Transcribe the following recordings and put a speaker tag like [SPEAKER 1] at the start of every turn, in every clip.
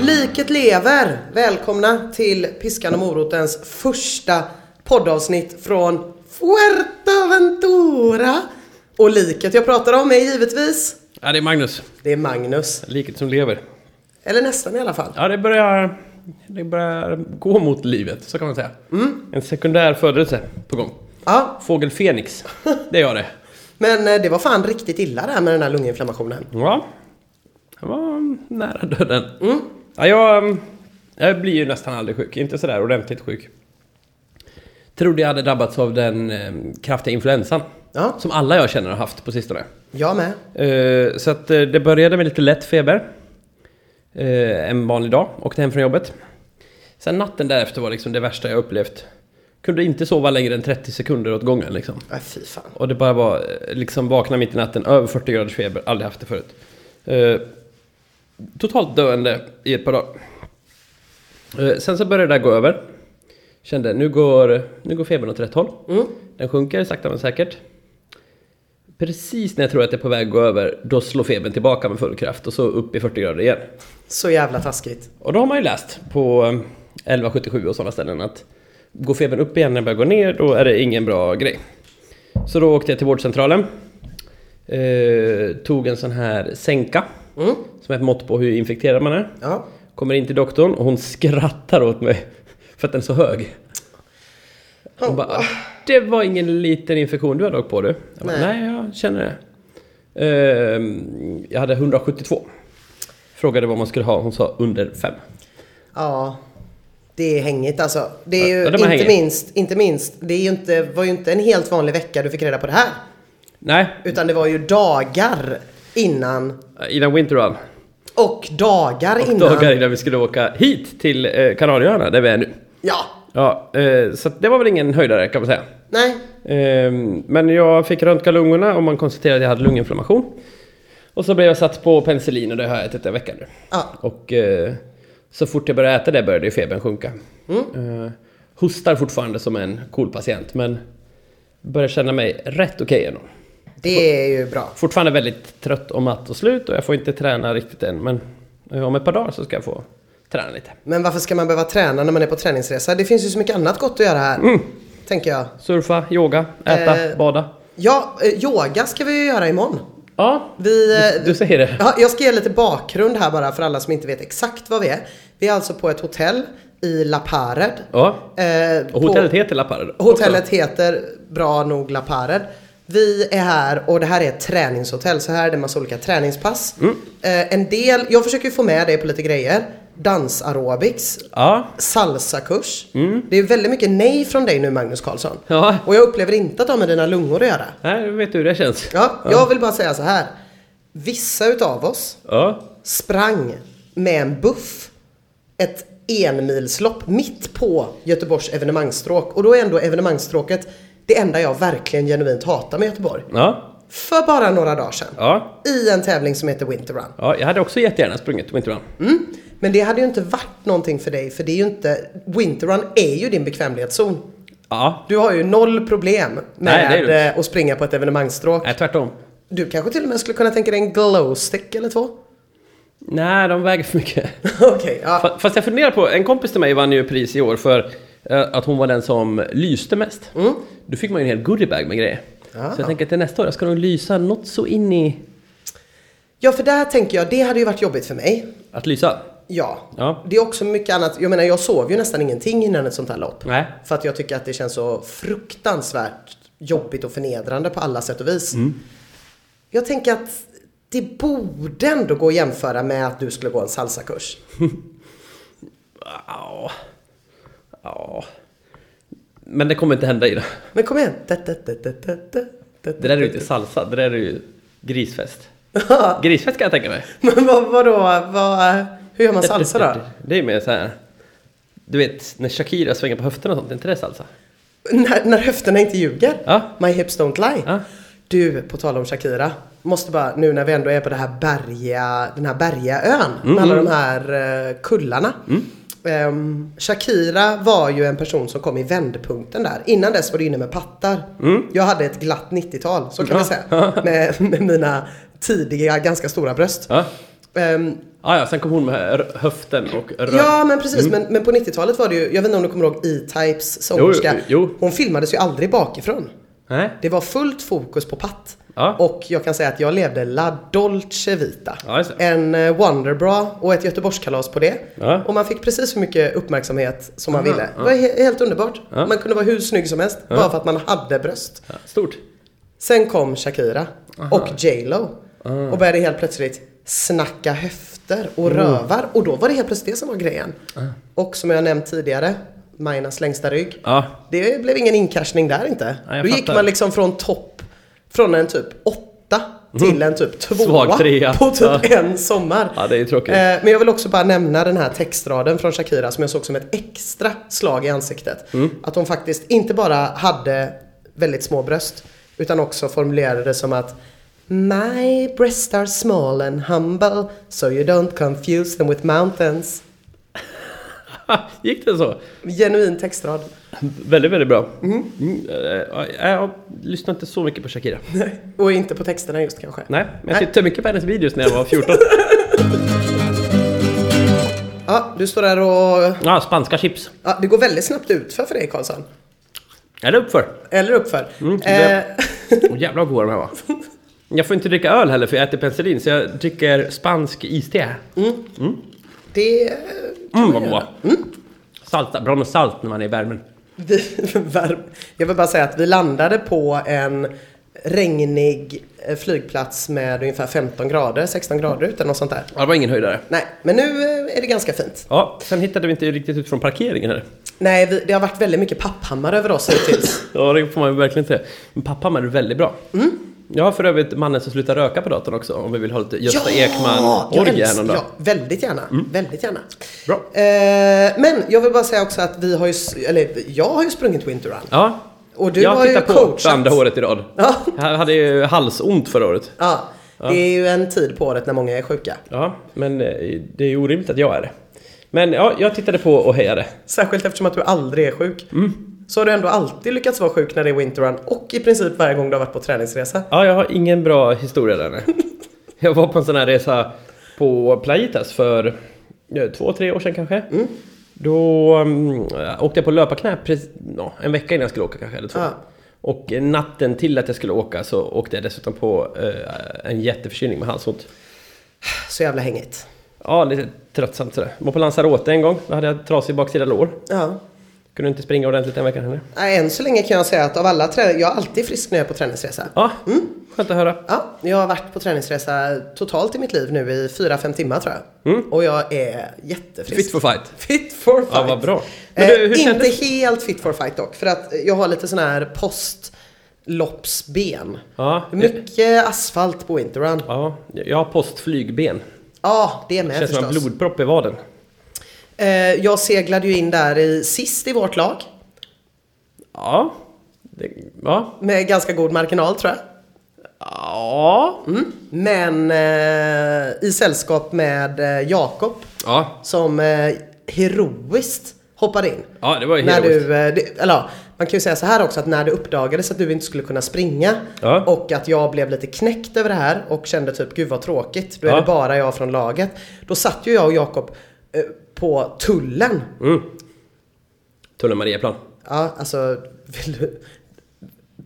[SPEAKER 1] Liket lever! Välkomna till Piskan och morotens första poddavsnitt från Fuerteventura. Och liket jag pratar om är givetvis,
[SPEAKER 2] Ja, det är Magnus.
[SPEAKER 1] det är Magnus.
[SPEAKER 2] Liket som lever.
[SPEAKER 1] Eller nästan i alla fall.
[SPEAKER 2] Ja, det börjar, det börjar gå mot livet, så kan man säga. En sekundär födelse på gång.
[SPEAKER 1] Ja,
[SPEAKER 2] Fågel Fenix, det gör det.
[SPEAKER 1] men eh, det var fan riktigt illa det här med den här lunginflammationen.
[SPEAKER 2] Ja, Mm. jag var nära döden. Ja, jag, jag blir ju nästan aldrig sjuk, inte sådär ordentligt sjuk. Trodde jag hade drabbats av den eh, kraftiga influensan.
[SPEAKER 1] Ja,
[SPEAKER 2] Som alla jag känner har haft på sistone.
[SPEAKER 1] jag med.
[SPEAKER 2] Eh, så att eh, det började med lite lätt feber. Eh, en vanlig dag, åkte hem från jobbet. Sen natten därefter var liksom det värsta jag upplevt. Kunde inte sova längre än 30 sekunder åt gången liksom.
[SPEAKER 1] Nej, Äh, fy fan.
[SPEAKER 2] Och det bara var eh, liksom vakna mitt i natten, över 40 graders feber, aldrig haft det förut. Eh, totalt döende i ett par dagar. Eh, sen så började det där gå över. Kände, nu går, nu går febern åt rätt håll.
[SPEAKER 1] Mm.
[SPEAKER 2] Den sjunker sakta men säkert. Precis när jag tror att det är på väg att gå över, då slår febern tillbaka med full kraft och så upp i 40 grader igen.
[SPEAKER 1] Så jävla taskigt.
[SPEAKER 2] Och då har man ju läst på eh, 1177 och sådana ställen att går febern upp igen när den börjar gå ner, då är det ingen bra grej. Så då åkte jag till vårdcentralen. Eh, tog en sån här sänka,
[SPEAKER 1] Mm.
[SPEAKER 2] som är ett mått på hur infekterad man är.
[SPEAKER 1] Ja.
[SPEAKER 2] Kommer in till doktorn och hon skrattar åt mig för att den är så hög. Hon
[SPEAKER 1] Oh.
[SPEAKER 2] bara, det var ingen liten infektion du hade åkt på du. Jag bara,
[SPEAKER 1] Nej.
[SPEAKER 2] Nej, jag känner det. Ehm, jag hade 172. Frågade vad man skulle ha, hon sa under 5.
[SPEAKER 1] Ja, det är hängigt alltså. Det är ju
[SPEAKER 2] Ja, det var
[SPEAKER 1] inte,
[SPEAKER 2] hängigt.
[SPEAKER 1] minst, inte minst, det är ju inte, var ju inte en helt vanlig vecka du fick reda på det här.
[SPEAKER 2] Nej,
[SPEAKER 1] Utan det var ju dagar innan.
[SPEAKER 2] innan Winter Run.
[SPEAKER 1] Och dagar
[SPEAKER 2] Och
[SPEAKER 1] innan.
[SPEAKER 2] dagar innan vi skulle åka hit till eh, Kanarieöarna, där vi är nu.
[SPEAKER 1] Ja,
[SPEAKER 2] Ja, eh, så att det var väl ingen höjdare kan man säga.
[SPEAKER 1] nej.
[SPEAKER 2] Ehm, Men jag fick röntga lungorna och man konstaterade att jag hade lunginflammation. Och så blev jag satt på penicillin och det har jag ätit en vecka nu.
[SPEAKER 1] Ja.
[SPEAKER 2] Och eh, så fort jag började äta det började ju febern sjunka.
[SPEAKER 1] Mm.
[SPEAKER 2] Eh, Hostar fortfarande som en KOL-patient men börjar känna mig rätt okej ändå.
[SPEAKER 1] Det är ju bra.
[SPEAKER 2] Fortfarande väldigt trött och matt och slut och jag får inte träna riktigt än men eh, om ett par dagar så ska jag få träna lite.
[SPEAKER 1] Men varför ska man behöva träna när man är på träningsresa? Det finns ju så mycket annat gott att göra här.
[SPEAKER 2] Mm.
[SPEAKER 1] Tänker jag.
[SPEAKER 2] Surfa, yoga, äta,
[SPEAKER 1] Eh.
[SPEAKER 2] bada.
[SPEAKER 1] Ja, eh, yoga ska vi ju göra imorgon.
[SPEAKER 2] Ja,
[SPEAKER 1] Vi, eh,
[SPEAKER 2] du säger det.
[SPEAKER 1] Ja, jag ska ge lite bakgrund här bara för alla som inte vet exakt vad vi är. Vi är alltså på ett hotell i La Pared.
[SPEAKER 2] Ja.
[SPEAKER 1] Eh,
[SPEAKER 2] Och hotellet heter La Parade.
[SPEAKER 1] på, hotellet heter bra nog La Pared. Vi är här och det här är ett träningshotell så här är det en massa olika träningspass. Eh, en del, jag försöker få med dig på lite grejer. Dansaerobics,
[SPEAKER 2] Ja,
[SPEAKER 1] salsakurs. Det är väldigt mycket nej från dig nu Magnus Karlsson.
[SPEAKER 2] Ja,
[SPEAKER 1] Och jag upplever inte att det har med dina lungor att göra.
[SPEAKER 2] nej, vet du hur det känns.
[SPEAKER 1] Ja, jag vill bara säga så här. Vissa utav oss
[SPEAKER 2] Ja.
[SPEAKER 1] sprang med en buff ett enmilslopp mitt på Göteborgs evenemangsstråk. Och då är ändå evenemangsstråket det enda jag verkligen genuint hatar med Göteborg.
[SPEAKER 2] Ja.
[SPEAKER 1] För bara några dagar sedan.
[SPEAKER 2] Ja.
[SPEAKER 1] I en tävling som heter Winter Run.
[SPEAKER 2] ja, jag hade också jättegärna sprungit Winter Run.
[SPEAKER 1] Mm. Men det hade ju inte varit någonting för dig, för det är ju inte... Winter Run är ju din bekvämlighetszon.
[SPEAKER 2] Ja,
[SPEAKER 1] Du har ju noll problem
[SPEAKER 2] Nej, det är
[SPEAKER 1] med
[SPEAKER 2] det inte.
[SPEAKER 1] eh, att springa på ett evenemangsstråk.
[SPEAKER 2] nej tvärtom.
[SPEAKER 1] Du kanske till och med skulle kunna tänka dig en glowstick eller två?
[SPEAKER 2] Nej, de väger för mycket.
[SPEAKER 1] Okej, ja.
[SPEAKER 2] Fa- Fast jag funderar på, en kompis till mig vann ju pris i år för eh, att hon var den som lyste mest.
[SPEAKER 1] Mm.
[SPEAKER 2] Då fick man ju en hel goodiebag med grejer.
[SPEAKER 1] Ah.
[SPEAKER 2] Så jag tänker till nästa år, jag ska nog lysa något så in i...
[SPEAKER 1] Ja, för där tänker jag, det hade ju varit jobbigt för mig.
[SPEAKER 2] Att lysa?
[SPEAKER 1] Ja.
[SPEAKER 2] Ja.
[SPEAKER 1] Det är också mycket annat. Jag menar, jag sov ju nästan ingenting innan ett sånt här lopp.
[SPEAKER 2] Nej.
[SPEAKER 1] För att jag tycker att det känns så fruktansvärt jobbigt och förnedrande på alla sätt och vis.
[SPEAKER 2] Mm.
[SPEAKER 1] Jag tänker att det borde ändå gå att jämföra med att du skulle gå en salsakurs.
[SPEAKER 2] Ja. Ja. Men det kommer inte hända i det.
[SPEAKER 1] Men kom igen. Da, da, da, da, da, da, da,
[SPEAKER 2] Det där är ju inte salsa, det där är ju grisfest.
[SPEAKER 1] Ja,
[SPEAKER 2] Grisfest kan jag tänka mig.
[SPEAKER 1] Men vad, vadå? Vad, hur gör man salsa då?
[SPEAKER 2] Det är mer så här. Du vet, när Shakira svänger på höfterna och sånt, är inte det salsa?
[SPEAKER 1] När, när höfterna inte ljuger?
[SPEAKER 2] Ja.
[SPEAKER 1] My hips don't lie.
[SPEAKER 2] Ja.
[SPEAKER 1] Du, på tal om Shakira. Måste bara, nu när vi ändå är på det här bergiga, den här bergiga ön
[SPEAKER 2] Mm,
[SPEAKER 1] med alla de här eh, kullarna. Ehm, Shakira var ju en person som kom i vändpunkten där. Innan
[SPEAKER 2] Mm.
[SPEAKER 1] dess var det inne med pattar. Jag hade ett glatt 90-tal, så kan vi säga. Med, med mina tidiga, ganska stora bröst.
[SPEAKER 2] Ja.
[SPEAKER 1] Ehm,
[SPEAKER 2] Ah, ja, sen kom hon med r- höften och röv.
[SPEAKER 1] Ja, men precis.
[SPEAKER 2] Mm.
[SPEAKER 1] Men, men på 90-talet var det ju, jag vet inte om du kommer ihåg E-Types sångerska.
[SPEAKER 2] Jo, jo, jo.
[SPEAKER 1] Hon filmades ju aldrig bakifrån.
[SPEAKER 2] Nej.
[SPEAKER 1] Det var fullt fokus på patt.
[SPEAKER 2] Ja.
[SPEAKER 1] Och jag kan säga att jag levde la dolce vita.
[SPEAKER 2] Ja, just det.
[SPEAKER 1] en eh, Wonderbra och ett Göteborgskalas på det.
[SPEAKER 2] Ja.
[SPEAKER 1] Och man fick precis hur mycket uppmärksamhet som man
[SPEAKER 2] Aha,
[SPEAKER 1] ville. Det var he- helt underbart.
[SPEAKER 2] Ja.
[SPEAKER 1] Man kunde vara hur snygg som helst, bara för att man hade bröst.
[SPEAKER 2] Ja, stort.
[SPEAKER 1] Sen kom Shakira och J Lo
[SPEAKER 2] Ah.
[SPEAKER 1] och började helt plötsligt snacka höfter och
[SPEAKER 2] Mm.
[SPEAKER 1] rövar. Och då var det helt plötsligt det som var grejen.
[SPEAKER 2] Ah.
[SPEAKER 1] Och som jag nämnt tidigare, Majnas längsta rygg.
[SPEAKER 2] Ja.
[SPEAKER 1] Det blev ingen inkaschning där inte.
[SPEAKER 2] Nej, jag
[SPEAKER 1] då gick
[SPEAKER 2] fattar.
[SPEAKER 1] man liksom från topp, från en typ åtta till en typ tvåa
[SPEAKER 2] Mm. Svag trea.
[SPEAKER 1] på typ
[SPEAKER 2] Ja.
[SPEAKER 1] en sommar.
[SPEAKER 2] Ja, det är ju tråkigt.
[SPEAKER 1] Eh, men jag vill också bara nämna den här textraden från Shakira som jag såg som ett extra slag i ansiktet.
[SPEAKER 2] Mm.
[SPEAKER 1] Att hon faktiskt inte bara hade väldigt små bröst utan också formulerade det som att My breasts are small and humble so you don't confuse them with mountains.
[SPEAKER 2] Ha, Gick det så?
[SPEAKER 1] Genuin textrad.
[SPEAKER 2] Väldigt, väldigt bra. Mm, eh, ja, jag lyssnar inte så mycket på Shakira.
[SPEAKER 1] Och inte på texterna just kanske.
[SPEAKER 2] Nej, men jag
[SPEAKER 1] Nej.
[SPEAKER 2] tittade mycket på hennes videos när jag var 14.
[SPEAKER 1] Ja, du står där och...
[SPEAKER 2] Ja, spanska chips.
[SPEAKER 1] Ja, det går väldigt snabbt utför för dig Karlsson.
[SPEAKER 2] Eller uppför.
[SPEAKER 1] Eller uppför.
[SPEAKER 2] Mm, det-
[SPEAKER 1] Eh,
[SPEAKER 2] Oh, jävlar vad goda de här var. Jag får inte dricka öl heller för jag äter penicillin, så jag dricker spansk iste.
[SPEAKER 1] det...
[SPEAKER 2] Mm, vad goda. Salta, bra med salt när man är i värmen.
[SPEAKER 1] Vi, värm- jag vill bara säga att vi landade på en regnig eh, flygplats med ungefär 15 grader, 16 grader ute, något sånt där.
[SPEAKER 2] Ja, det var ingen höjdare.
[SPEAKER 1] Nej, men nu eh, är det ganska fint.
[SPEAKER 2] Ja, sen hittade vi inte riktigt ut från parkeringen här.
[SPEAKER 1] Nej, vi, det har varit väldigt mycket papphammar över oss hittills.
[SPEAKER 2] Ja, det får man ju verkligen säga. Men pappa är väldigt bra.
[SPEAKER 1] Mm.
[SPEAKER 2] Jag har för övrigt mannen som slutar röka på datorn också, om vi vill ha lite Gösta
[SPEAKER 1] jag
[SPEAKER 2] Ekman-orgie här
[SPEAKER 1] älskar-
[SPEAKER 2] någon dag.
[SPEAKER 1] ja, väldigt gärna. Väldigt gärna.
[SPEAKER 2] Mm. Bra.
[SPEAKER 1] Eh, men jag vill bara säga också att vi har ju, s- eller jag har ju sprungit Winter Run.
[SPEAKER 2] Ja.
[SPEAKER 1] Och du
[SPEAKER 2] jag
[SPEAKER 1] har ju
[SPEAKER 2] tittar på
[SPEAKER 1] coachat.
[SPEAKER 2] för andra året i rad.
[SPEAKER 1] Ja.
[SPEAKER 2] Jag hade ju halsont förra året.
[SPEAKER 1] Ja, det är ju en tid på året när många är sjuka.
[SPEAKER 2] Ja, men eh, det är ju orimligt att jag är det. Men ja, jag tittade på och hejade.
[SPEAKER 1] Särskilt eftersom att du aldrig är sjuk. Så har du ändå alltid lyckats vara sjuk när det är Winter Run och i princip varje gång du har varit på träningsresa.
[SPEAKER 2] Ja, jag har ingen bra historia där. nej. Jag var på en sån här resa på Playitas för eh, två, tre år sedan kanske.
[SPEAKER 1] Mm.
[SPEAKER 2] Då mm, eh, åkte jag på löparknä precis, ja, en vecka innan jag skulle åka kanske, eller två.
[SPEAKER 1] Ja.
[SPEAKER 2] Och eh, natten till att jag skulle åka så åkte jag dessutom på eh, en jätteförkylning med halsont.
[SPEAKER 1] Så jävla hängigt.
[SPEAKER 2] Ja, lite tröttsamt sådär. Var på Lanzarote en gång, då hade jag trasig baksida lår.
[SPEAKER 1] Ja.
[SPEAKER 2] Kunde inte springa ordentligt den veckan heller.
[SPEAKER 1] Nej, Än så länge kan jag säga att av alla träningar, jag är alltid frisk när jag är på träningsresa.
[SPEAKER 2] Ja, skönt att höra.
[SPEAKER 1] Ja, jag har varit på träningsresa totalt i mitt liv nu i 4-5 timmar tror jag. Och jag är jättefrisk.
[SPEAKER 2] Mm. Fit for fight.
[SPEAKER 1] Fit for fight.
[SPEAKER 2] Ja, vad bra. Men
[SPEAKER 1] Eh,
[SPEAKER 2] du, hur
[SPEAKER 1] inte
[SPEAKER 2] kändes-
[SPEAKER 1] helt fit for fight dock, för att jag har lite sån här postloppsben.
[SPEAKER 2] Ja.
[SPEAKER 1] Mycket asfalt på Winter Run.
[SPEAKER 2] Ja, jag har postflygben.
[SPEAKER 1] Ja, det är med
[SPEAKER 2] Känns som en
[SPEAKER 1] förstås.
[SPEAKER 2] blodpropp i vaden.
[SPEAKER 1] Eh, jag seglade ju in där i, sist i vårt lag.
[SPEAKER 2] Ja. Det, ja.
[SPEAKER 1] Med ganska god marginal tror jag.
[SPEAKER 2] Ja.
[SPEAKER 1] Mm. Men eh, i sällskap med eh, Jakob
[SPEAKER 2] Ja.
[SPEAKER 1] som eh, heroiskt hoppade in.
[SPEAKER 2] Ja, det var ju
[SPEAKER 1] när
[SPEAKER 2] heroiskt.
[SPEAKER 1] du, eh, det, eller, ja, Man kan ju säga så här också att när det uppdagades att du inte skulle kunna springa
[SPEAKER 2] Ja.
[SPEAKER 1] och att jag blev lite knäckt över det här och kände typ gud vad tråkigt, då är
[SPEAKER 2] Ja.
[SPEAKER 1] det bara jag från laget. Då satt ju jag och Jakob eh, på tullen
[SPEAKER 2] Mm. Tullen Mariaplan.
[SPEAKER 1] Ja, alltså, vill du...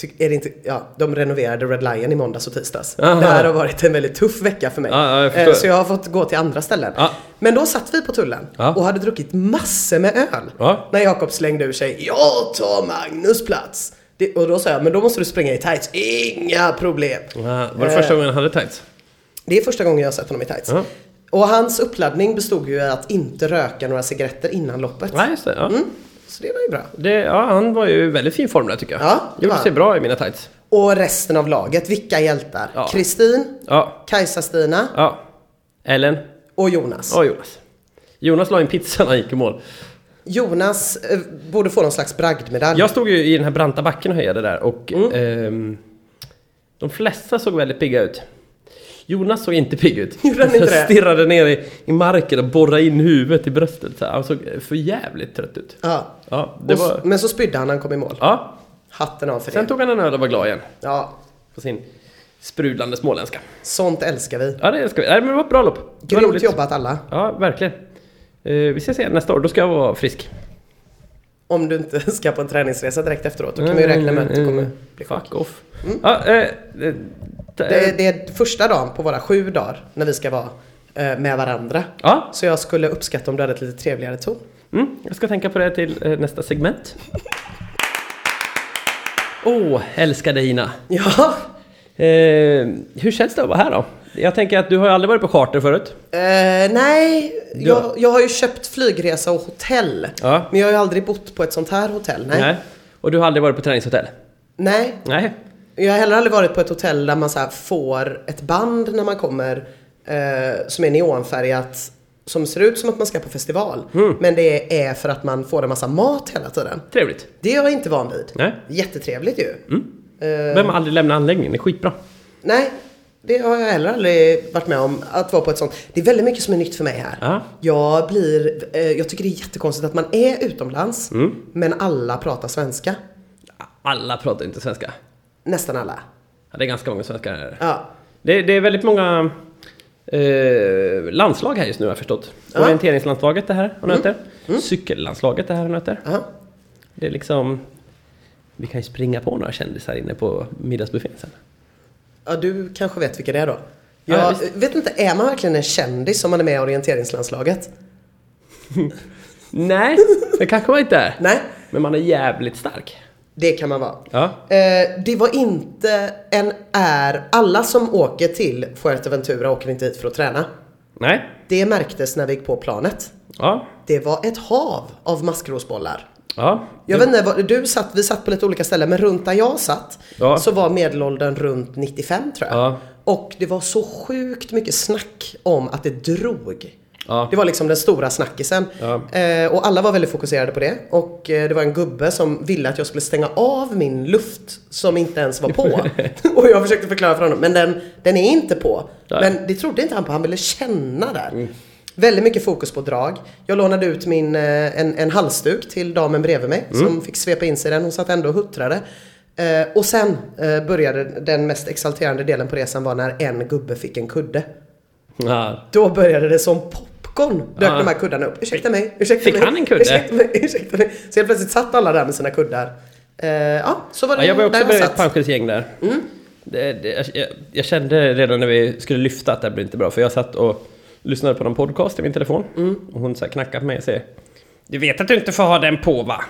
[SPEAKER 1] Ty, är det inte, ja, de renoverade Red Lion i måndags och tisdags.
[SPEAKER 2] Aha.
[SPEAKER 1] Det här har varit en väldigt tuff vecka för mig.
[SPEAKER 2] Ja, ja, jag
[SPEAKER 1] Eh,
[SPEAKER 2] förstår.
[SPEAKER 1] så jag har fått gå till andra ställen.
[SPEAKER 2] Ja.
[SPEAKER 1] Men då satt vi på tullen
[SPEAKER 2] Ja.
[SPEAKER 1] och hade druckit massor med öl.
[SPEAKER 2] Ja.
[SPEAKER 1] När Jakob slängde ur sig “Jag tar Magnus plats”. Det, och då sa jag “Men då måste du springa i tights, inga problem”.
[SPEAKER 2] Ja, var det första
[SPEAKER 1] Eh,
[SPEAKER 2] gången han hade tights?
[SPEAKER 1] det är första gången jag har sett honom i tights.
[SPEAKER 2] Ja.
[SPEAKER 1] Och hans uppladdning bestod ju i att inte röka några cigaretter innan loppet.
[SPEAKER 2] Nej, just det. Ja.
[SPEAKER 1] Mm, så det var ju bra.
[SPEAKER 2] det. Ja, han var ju i väldigt fin form där tycker jag.
[SPEAKER 1] Ja, det
[SPEAKER 2] Gjorde
[SPEAKER 1] var
[SPEAKER 2] sig
[SPEAKER 1] han.
[SPEAKER 2] bra i mina tights.
[SPEAKER 1] Och resten av laget, vilka hjältar?
[SPEAKER 2] Ja.
[SPEAKER 1] Kristin,
[SPEAKER 2] Ja.
[SPEAKER 1] Kajsa-Stina
[SPEAKER 2] Ja. Ellen.
[SPEAKER 1] och Jonas.
[SPEAKER 2] Och Jonas. Jonas la in pizza när han gick i mål.
[SPEAKER 1] Jonas eh, borde få någon slags bragdmedalj.
[SPEAKER 2] Jag stod ju i den här branta backen och hejade där och
[SPEAKER 1] Mm.
[SPEAKER 2] ehm, de flesta såg väldigt pigga ut. Jonas såg inte pigg ut.
[SPEAKER 1] Gjorde han inte
[SPEAKER 2] jag
[SPEAKER 1] det?
[SPEAKER 2] stirrade ner i, i marken och borrade in huvudet i bröstet. Så här. Han såg för jävligt trött ut.
[SPEAKER 1] Ja.
[SPEAKER 2] Ja, det
[SPEAKER 1] Och s-
[SPEAKER 2] var...
[SPEAKER 1] Men så spydde han när han kom i mål.
[SPEAKER 2] Ja,
[SPEAKER 1] Hatten av för
[SPEAKER 2] sen
[SPEAKER 1] det.
[SPEAKER 2] tog han en öl och var glad igen.
[SPEAKER 1] Ja.
[SPEAKER 2] På sin sprudlande småländska.
[SPEAKER 1] Sånt älskar vi.
[SPEAKER 2] Ja, det älskar vi. Nej, men det var ett bra lopp. Det var
[SPEAKER 1] Grymt
[SPEAKER 2] roligt.
[SPEAKER 1] jobbat alla.
[SPEAKER 2] Ja, verkligen. Eh, vi ses igen nästa år, då ska jag vara frisk.
[SPEAKER 1] Om du inte ska på en träningsresa direkt efteråt. Då kan vi
[SPEAKER 2] Mm,
[SPEAKER 1] ju räkna med att det kommer bli sjuk.
[SPEAKER 2] Fuck off. Ja, eh, eh, t-
[SPEAKER 1] Det, det är första dagen på våra sju dagar när vi ska vara eh, med varandra.
[SPEAKER 2] ja,
[SPEAKER 1] Så jag skulle uppskatta om du hade ett lite trevligare ton.
[SPEAKER 2] mm, jag ska tänka på det till eh, nästa segment. Åh, oh, älskade Ina.
[SPEAKER 1] Ja,
[SPEAKER 2] Eh, hur känns det att vara här då? Jag tänker att du har ju aldrig varit på charter förut.
[SPEAKER 1] Eh, nej,
[SPEAKER 2] Ja.
[SPEAKER 1] jag, jag har ju köpt flygresa och hotell.
[SPEAKER 2] Ja.
[SPEAKER 1] Men jag har ju aldrig bott på ett sånt här hotell. Nej.
[SPEAKER 2] Nej. Och du har aldrig varit på träningshotell?
[SPEAKER 1] nej.
[SPEAKER 2] Nej.
[SPEAKER 1] Jag har heller aldrig varit på ett hotell där man så här får ett band när man kommer eh, som är neonfärgat. Som ser ut som att man ska på festival. Men det är för att man får en massa mat hela tiden.
[SPEAKER 2] Trevligt.
[SPEAKER 1] Det är jag inte van vid.
[SPEAKER 2] Nej.
[SPEAKER 1] Jättetrevligt ju. Eh,
[SPEAKER 2] Behöver man aldrig lämna anläggningen, det är skitbra.
[SPEAKER 1] nej, det har jag heller aldrig varit med om. Att vara på ett sånt. Det är väldigt mycket som är nytt för mig här.
[SPEAKER 2] Ja.
[SPEAKER 1] Jag blir, eh, jag tycker det är jättekonstigt att man är utomlands
[SPEAKER 2] Mm.
[SPEAKER 1] men alla pratar svenska.
[SPEAKER 2] Alla pratar inte svenska.
[SPEAKER 1] Nästan alla.
[SPEAKER 2] Ja, det är ganska många svenskar här.
[SPEAKER 1] Ja.
[SPEAKER 2] Det, det är väldigt många eh, landslag här just nu har jag förstått.
[SPEAKER 1] Ja.
[SPEAKER 2] Orienteringslandslaget det här och nöter. Cykellandslaget det här och nöter.
[SPEAKER 1] Aha.
[SPEAKER 2] Det är liksom... Vi kan ju springa på några kändisar inne på middagsbuffén sen.
[SPEAKER 1] Ja, du kanske vet vilka det är då?
[SPEAKER 2] Ja,
[SPEAKER 1] Jag
[SPEAKER 2] visst.
[SPEAKER 1] eh, vet inte, är man verkligen en kändis om man är med i orienteringslandslaget?
[SPEAKER 2] Nej, det kanske man inte är.
[SPEAKER 1] Nej,
[SPEAKER 2] Men man är jävligt stark.
[SPEAKER 1] det kan man vara.
[SPEAKER 2] Ja.
[SPEAKER 1] Eh, det var inte en är... Alla som åker till Fuerteventura åker inte hit för att träna.
[SPEAKER 2] Nej.
[SPEAKER 1] Det märktes när vi gick på planet.
[SPEAKER 2] Ja.
[SPEAKER 1] Det var ett hav av maskrosbollar.
[SPEAKER 2] Ja.
[SPEAKER 1] Jag vet inte, var- du satt, vi satt på lite olika ställen, men runt där jag satt
[SPEAKER 2] Ja.
[SPEAKER 1] så var medelåldern runt 95 tror jag.
[SPEAKER 2] Ja.
[SPEAKER 1] Och det var så sjukt mycket snack om att det drog.
[SPEAKER 2] Ja.
[SPEAKER 1] Det var liksom den stora snackisen.
[SPEAKER 2] Ja.
[SPEAKER 1] Eh, och alla var väldigt fokuserade på det. Och eh, det var en gubbe som ville att jag skulle stänga av min luft som inte ens var på. och jag försökte förklara för honom, men den, den är inte på.
[SPEAKER 2] Nej.
[SPEAKER 1] Men det trodde inte han på, han ville känna där. Väldigt mycket fokus på drag. Jag lånade ut min, eh, en, en halsduk till damen bredvid mig
[SPEAKER 2] Mm.
[SPEAKER 1] som fick svepa in sig i den. Hon satt ändå och huttrade. Eh, och sen eh, började den mest exalterande delen på resan var när en gubbe fick en kudde.
[SPEAKER 2] Ja.
[SPEAKER 1] Då började det som popcorn dök
[SPEAKER 2] Ja.
[SPEAKER 1] de här kuddarna upp. Ursäkta mig, ursäkta
[SPEAKER 2] Fick
[SPEAKER 1] mig.
[SPEAKER 2] han en kudde?
[SPEAKER 1] Ursäkta mig, ursäkta mig. Så helt plötsligt satt alla där med sina kuddar. Eh, ja, så var det
[SPEAKER 2] Ja, jag var också
[SPEAKER 1] där
[SPEAKER 2] med i ett
[SPEAKER 1] satt. Mm.
[SPEAKER 2] pensionsgäng där. Det, det, jag- jag, jag kände redan när vi skulle lyfta att det här blir inte bra, för jag satt och lyssnade på någon podcast i min telefon.
[SPEAKER 1] Mm.
[SPEAKER 2] Och hon så här knackade på mig och säger Du vet att du inte får ha den på va?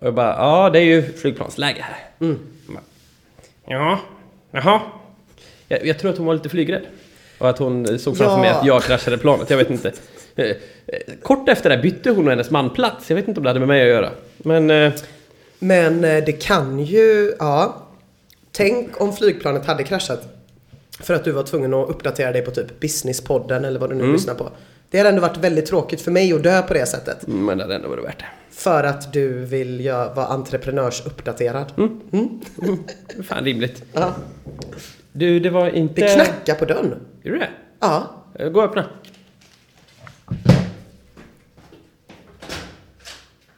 [SPEAKER 2] Och jag bara, ja det är ju flygplansläge här.
[SPEAKER 1] Mm.
[SPEAKER 2] Hon bara, ja, jaha. Jag, jag tror att hon var lite flygrädd. Och att hon såg framför
[SPEAKER 1] Ja.
[SPEAKER 2] mig att jag kraschade planet, jag vet inte. Eh, eh, Kort efter det här bytte hon och hennes man plats, jag vet inte om det hade med mig att göra. Men... eh,
[SPEAKER 1] Men eh, det kan ju, ja. Tänk om flygplanet hade kraschat. För att du var tvungen att uppdatera dig på typ businesspodden eller vad du nu
[SPEAKER 2] Mm.
[SPEAKER 1] lyssnar på. Det hade ändå varit väldigt tråkigt för mig att dö på det sättet.
[SPEAKER 2] Men det hade ändå varit värt det.
[SPEAKER 1] För att du vill gö- vara entreprenörsuppdaterad.
[SPEAKER 2] Mm. Fan rimligt.
[SPEAKER 1] Ja.
[SPEAKER 2] Du, det var inte...
[SPEAKER 1] Det knackar på dörren.
[SPEAKER 2] Gjorde det?
[SPEAKER 1] Ja.
[SPEAKER 2] Eh, Gå och öppna.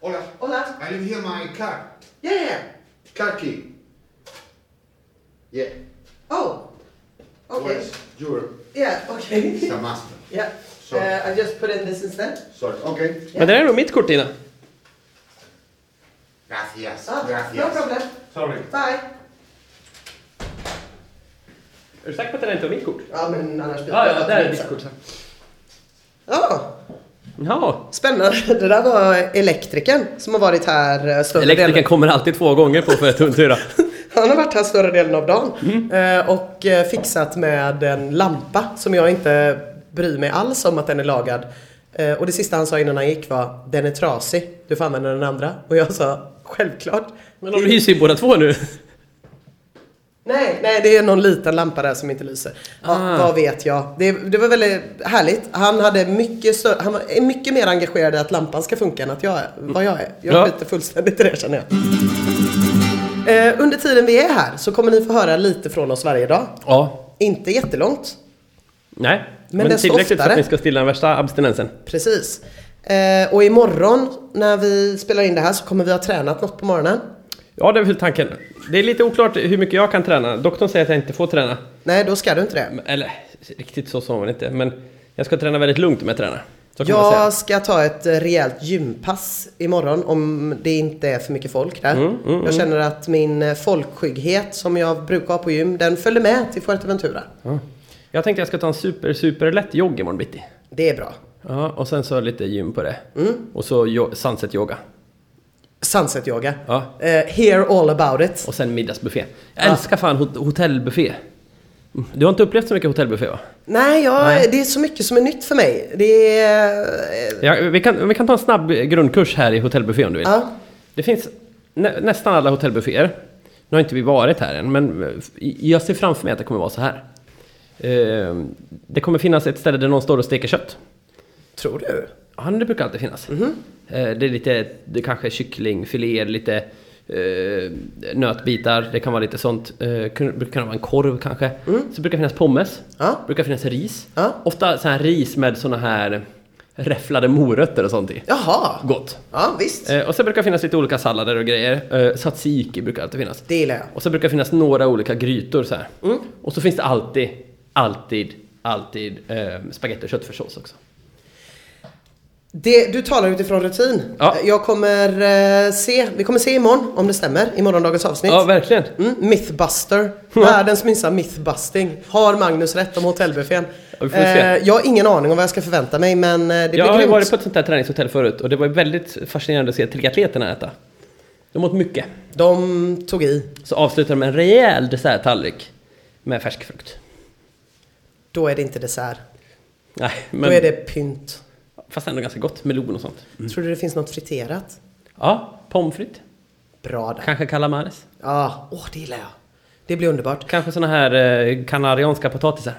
[SPEAKER 3] Hola.
[SPEAKER 1] Hola.
[SPEAKER 3] I didn't hear my car.
[SPEAKER 1] Yeah.
[SPEAKER 3] Car key. Yeah.
[SPEAKER 1] Oh. Okay.
[SPEAKER 3] Where's your
[SPEAKER 1] Yeah, okay.
[SPEAKER 3] it's a master?
[SPEAKER 1] Yeah.
[SPEAKER 3] Sorry.
[SPEAKER 1] Uh, I just put in this instead.
[SPEAKER 3] Sorry. Okay.
[SPEAKER 2] Men det där är nog mitt kort, Tina.
[SPEAKER 3] Gracias.
[SPEAKER 1] Ah,
[SPEAKER 3] Gracias.
[SPEAKER 1] No problem.
[SPEAKER 3] Sorry.
[SPEAKER 1] Bye.
[SPEAKER 2] Är du säker på att det där inte var mitt kort?
[SPEAKER 1] Ja, men annars blir
[SPEAKER 2] Ja, ja, där är mitt kort.
[SPEAKER 1] Ja,
[SPEAKER 2] Ja.
[SPEAKER 1] spännande. Det där var elektrikern som har varit här eh, större
[SPEAKER 2] Elektrikern
[SPEAKER 1] delen.
[SPEAKER 2] kommer alltid två gånger på för ett hundtura.
[SPEAKER 1] Han har varit här större delen av dagen. eh, Och eh, fixat med en lampa som jag inte bryr mig alls om att den är lagad. Eh, Och det sista han sa innan han gick var Den är trasig, du får använda den andra. Och jag sa Självklart.
[SPEAKER 2] Men de lyser ju båda två nu.
[SPEAKER 1] Nej, nej, det är någon liten lampa där som inte lyser. Ja,
[SPEAKER 2] Ah.
[SPEAKER 1] Vad vet jag? Det, det var väldigt härligt. Han, hade mycket större, han var- är mycket mer engagerad i att lampan ska funka än att jag är, vad jag är. Jag
[SPEAKER 2] Ja.
[SPEAKER 1] skiter fullständigt i det känner jag. Eh, under tiden vi är här så kommer ni få höra lite från oss varje dag.
[SPEAKER 2] Ja.
[SPEAKER 1] Inte jättelångt,
[SPEAKER 2] Nej. Men,
[SPEAKER 1] desto
[SPEAKER 2] tillräckligt för
[SPEAKER 1] oftare.
[SPEAKER 2] att ni ska stilla den värsta abstinensen.
[SPEAKER 1] precis. Eh, och imorgon när vi spelar in det här så kommer vi ha tränat något på morgonen.
[SPEAKER 2] Ja, det är väl tanken. Det är lite oklart hur mycket jag kan träna. Doktorn säger att jag inte får träna.
[SPEAKER 1] Nej, då ska du inte det.
[SPEAKER 2] Eller riktigt så sa hon inte, men jag ska träna väldigt lugnt om jag tränar. Så kan man säga.
[SPEAKER 1] Jag ska ta ett eh, rejält gympass imorgon om det inte är för mycket folk där.
[SPEAKER 2] Mm,
[SPEAKER 1] jag känner att min eh, folkskygghet som jag brukar ha på gym, den följer med till Fuerteventura.
[SPEAKER 2] Ja. Jag tänkte jag ska ta en super, super lätt jogg imorgon bitti.
[SPEAKER 1] Det är bra.
[SPEAKER 2] Ja, och sen så lite gym på det. Och så jo- sunset yoga.
[SPEAKER 1] Sunset yoga.
[SPEAKER 2] Ja.
[SPEAKER 1] Eh, hear all about it.
[SPEAKER 2] Och sen middagsbuffé. Jag älskar fan hot- hotellbuffé. Mm. Du har inte upplevt så mycket hotellbuffé va?
[SPEAKER 1] Nej, jag,
[SPEAKER 2] Nej.
[SPEAKER 1] det är så mycket som är nytt för mig. Det är... eh,
[SPEAKER 2] Ja, vi, kan, vi kan ta en snabb grundkurs här i hotellbuffé om du vill.
[SPEAKER 1] Ja.
[SPEAKER 2] Det finns nä, nästan alla hotellbufféer. Nu har inte vi varit här än, men eh, jag ser framför mig att det kommer vara så här. Eh, det kommer finnas ett ställe där någon står och steker kött.
[SPEAKER 1] Tror du?
[SPEAKER 2] Ja, men det brukar alltid finnas.
[SPEAKER 1] Mhm.
[SPEAKER 2] Eh, Det är lite, det kanske är kycklingfiléer, lite eh, nötbitar, det kan vara lite sånt. Eh, kun- brukar kunna vara en korv kanske. Så brukar det finnas pommes,
[SPEAKER 1] Mm. Ja.
[SPEAKER 2] brukar finnas ris.
[SPEAKER 1] Ja.
[SPEAKER 2] Ofta så här ris med såna här räfflade morötter och sånt i.
[SPEAKER 1] Jaha.
[SPEAKER 2] Gott!
[SPEAKER 1] Ja, visst.
[SPEAKER 2] Eh, och så brukar det finnas lite olika sallader och grejer. Eh, tzatziki brukar alltid finnas.
[SPEAKER 1] Det gillar jag.
[SPEAKER 2] Och så brukar det finnas några olika grytor så här.
[SPEAKER 1] Mm.
[SPEAKER 2] Och så finns det alltid, alltid, alltid eh, spagetti och köttfärssås också.
[SPEAKER 1] Det, du talar utifrån rutin.
[SPEAKER 2] Ja.
[SPEAKER 1] Jag kommer eh, se, vi kommer se imorgon om det stämmer i morgondagens avsnitt.
[SPEAKER 2] Ja, verkligen.
[SPEAKER 1] Mm, mythbuster. Världens minsta mythbusting. Har Magnus rätt om hotellbuffén? Eh,
[SPEAKER 2] Ja, vi får se.
[SPEAKER 1] jag har ingen aning om vad jag ska förvänta mig men eh, det blir
[SPEAKER 2] Jag har ju
[SPEAKER 1] grymt.
[SPEAKER 2] varit på ett sånt här träningshotell förut och det var ju väldigt fascinerande att se triatleterna äta. De åt mycket.
[SPEAKER 1] De tog i.
[SPEAKER 2] Så avslutade de med en rejäl desserttallrik med färsk frukt.
[SPEAKER 1] Då är det inte dessert.
[SPEAKER 2] Nej, men... Mm.
[SPEAKER 1] Då är det pynt.
[SPEAKER 2] Fast ändå ganska gott, melon och sånt.
[SPEAKER 1] Tror du det finns något friterat?
[SPEAKER 2] Ja, pommes frites.
[SPEAKER 1] Bra där.
[SPEAKER 2] Kanske calamares.
[SPEAKER 1] Ja, åh det gillar jag. Det blir underbart.
[SPEAKER 2] Kanske såna här eh, kanarianska potatisar.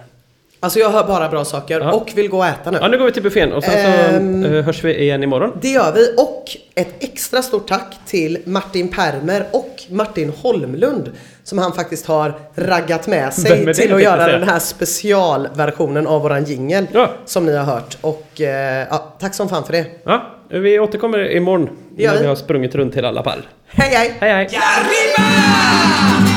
[SPEAKER 1] Alltså jag hör bara bra saker
[SPEAKER 2] Ja.
[SPEAKER 1] och vill gå och äta nu.
[SPEAKER 2] Ja, nu går vi till buffén och sen så
[SPEAKER 1] Ehm.
[SPEAKER 2] eh, hörs vi igen imorgon.
[SPEAKER 1] Det gör vi och ett extra stort tack till Martin Permer och Martin Holmlund som han faktiskt har raggat med sig
[SPEAKER 2] Vem är det,
[SPEAKER 1] till att
[SPEAKER 2] tänkte jag
[SPEAKER 1] göra
[SPEAKER 2] säga.
[SPEAKER 1] den här specialversionen av våran jingel
[SPEAKER 2] Ja.
[SPEAKER 1] som ni har hört. Och eh, ja, tack som fan för det.
[SPEAKER 2] Ja, vi återkommer imorgon
[SPEAKER 1] Ja.
[SPEAKER 2] när vi har sprungit runt hela alla pall.
[SPEAKER 1] Hej hej!
[SPEAKER 2] Hej, hej!
[SPEAKER 4] arriba!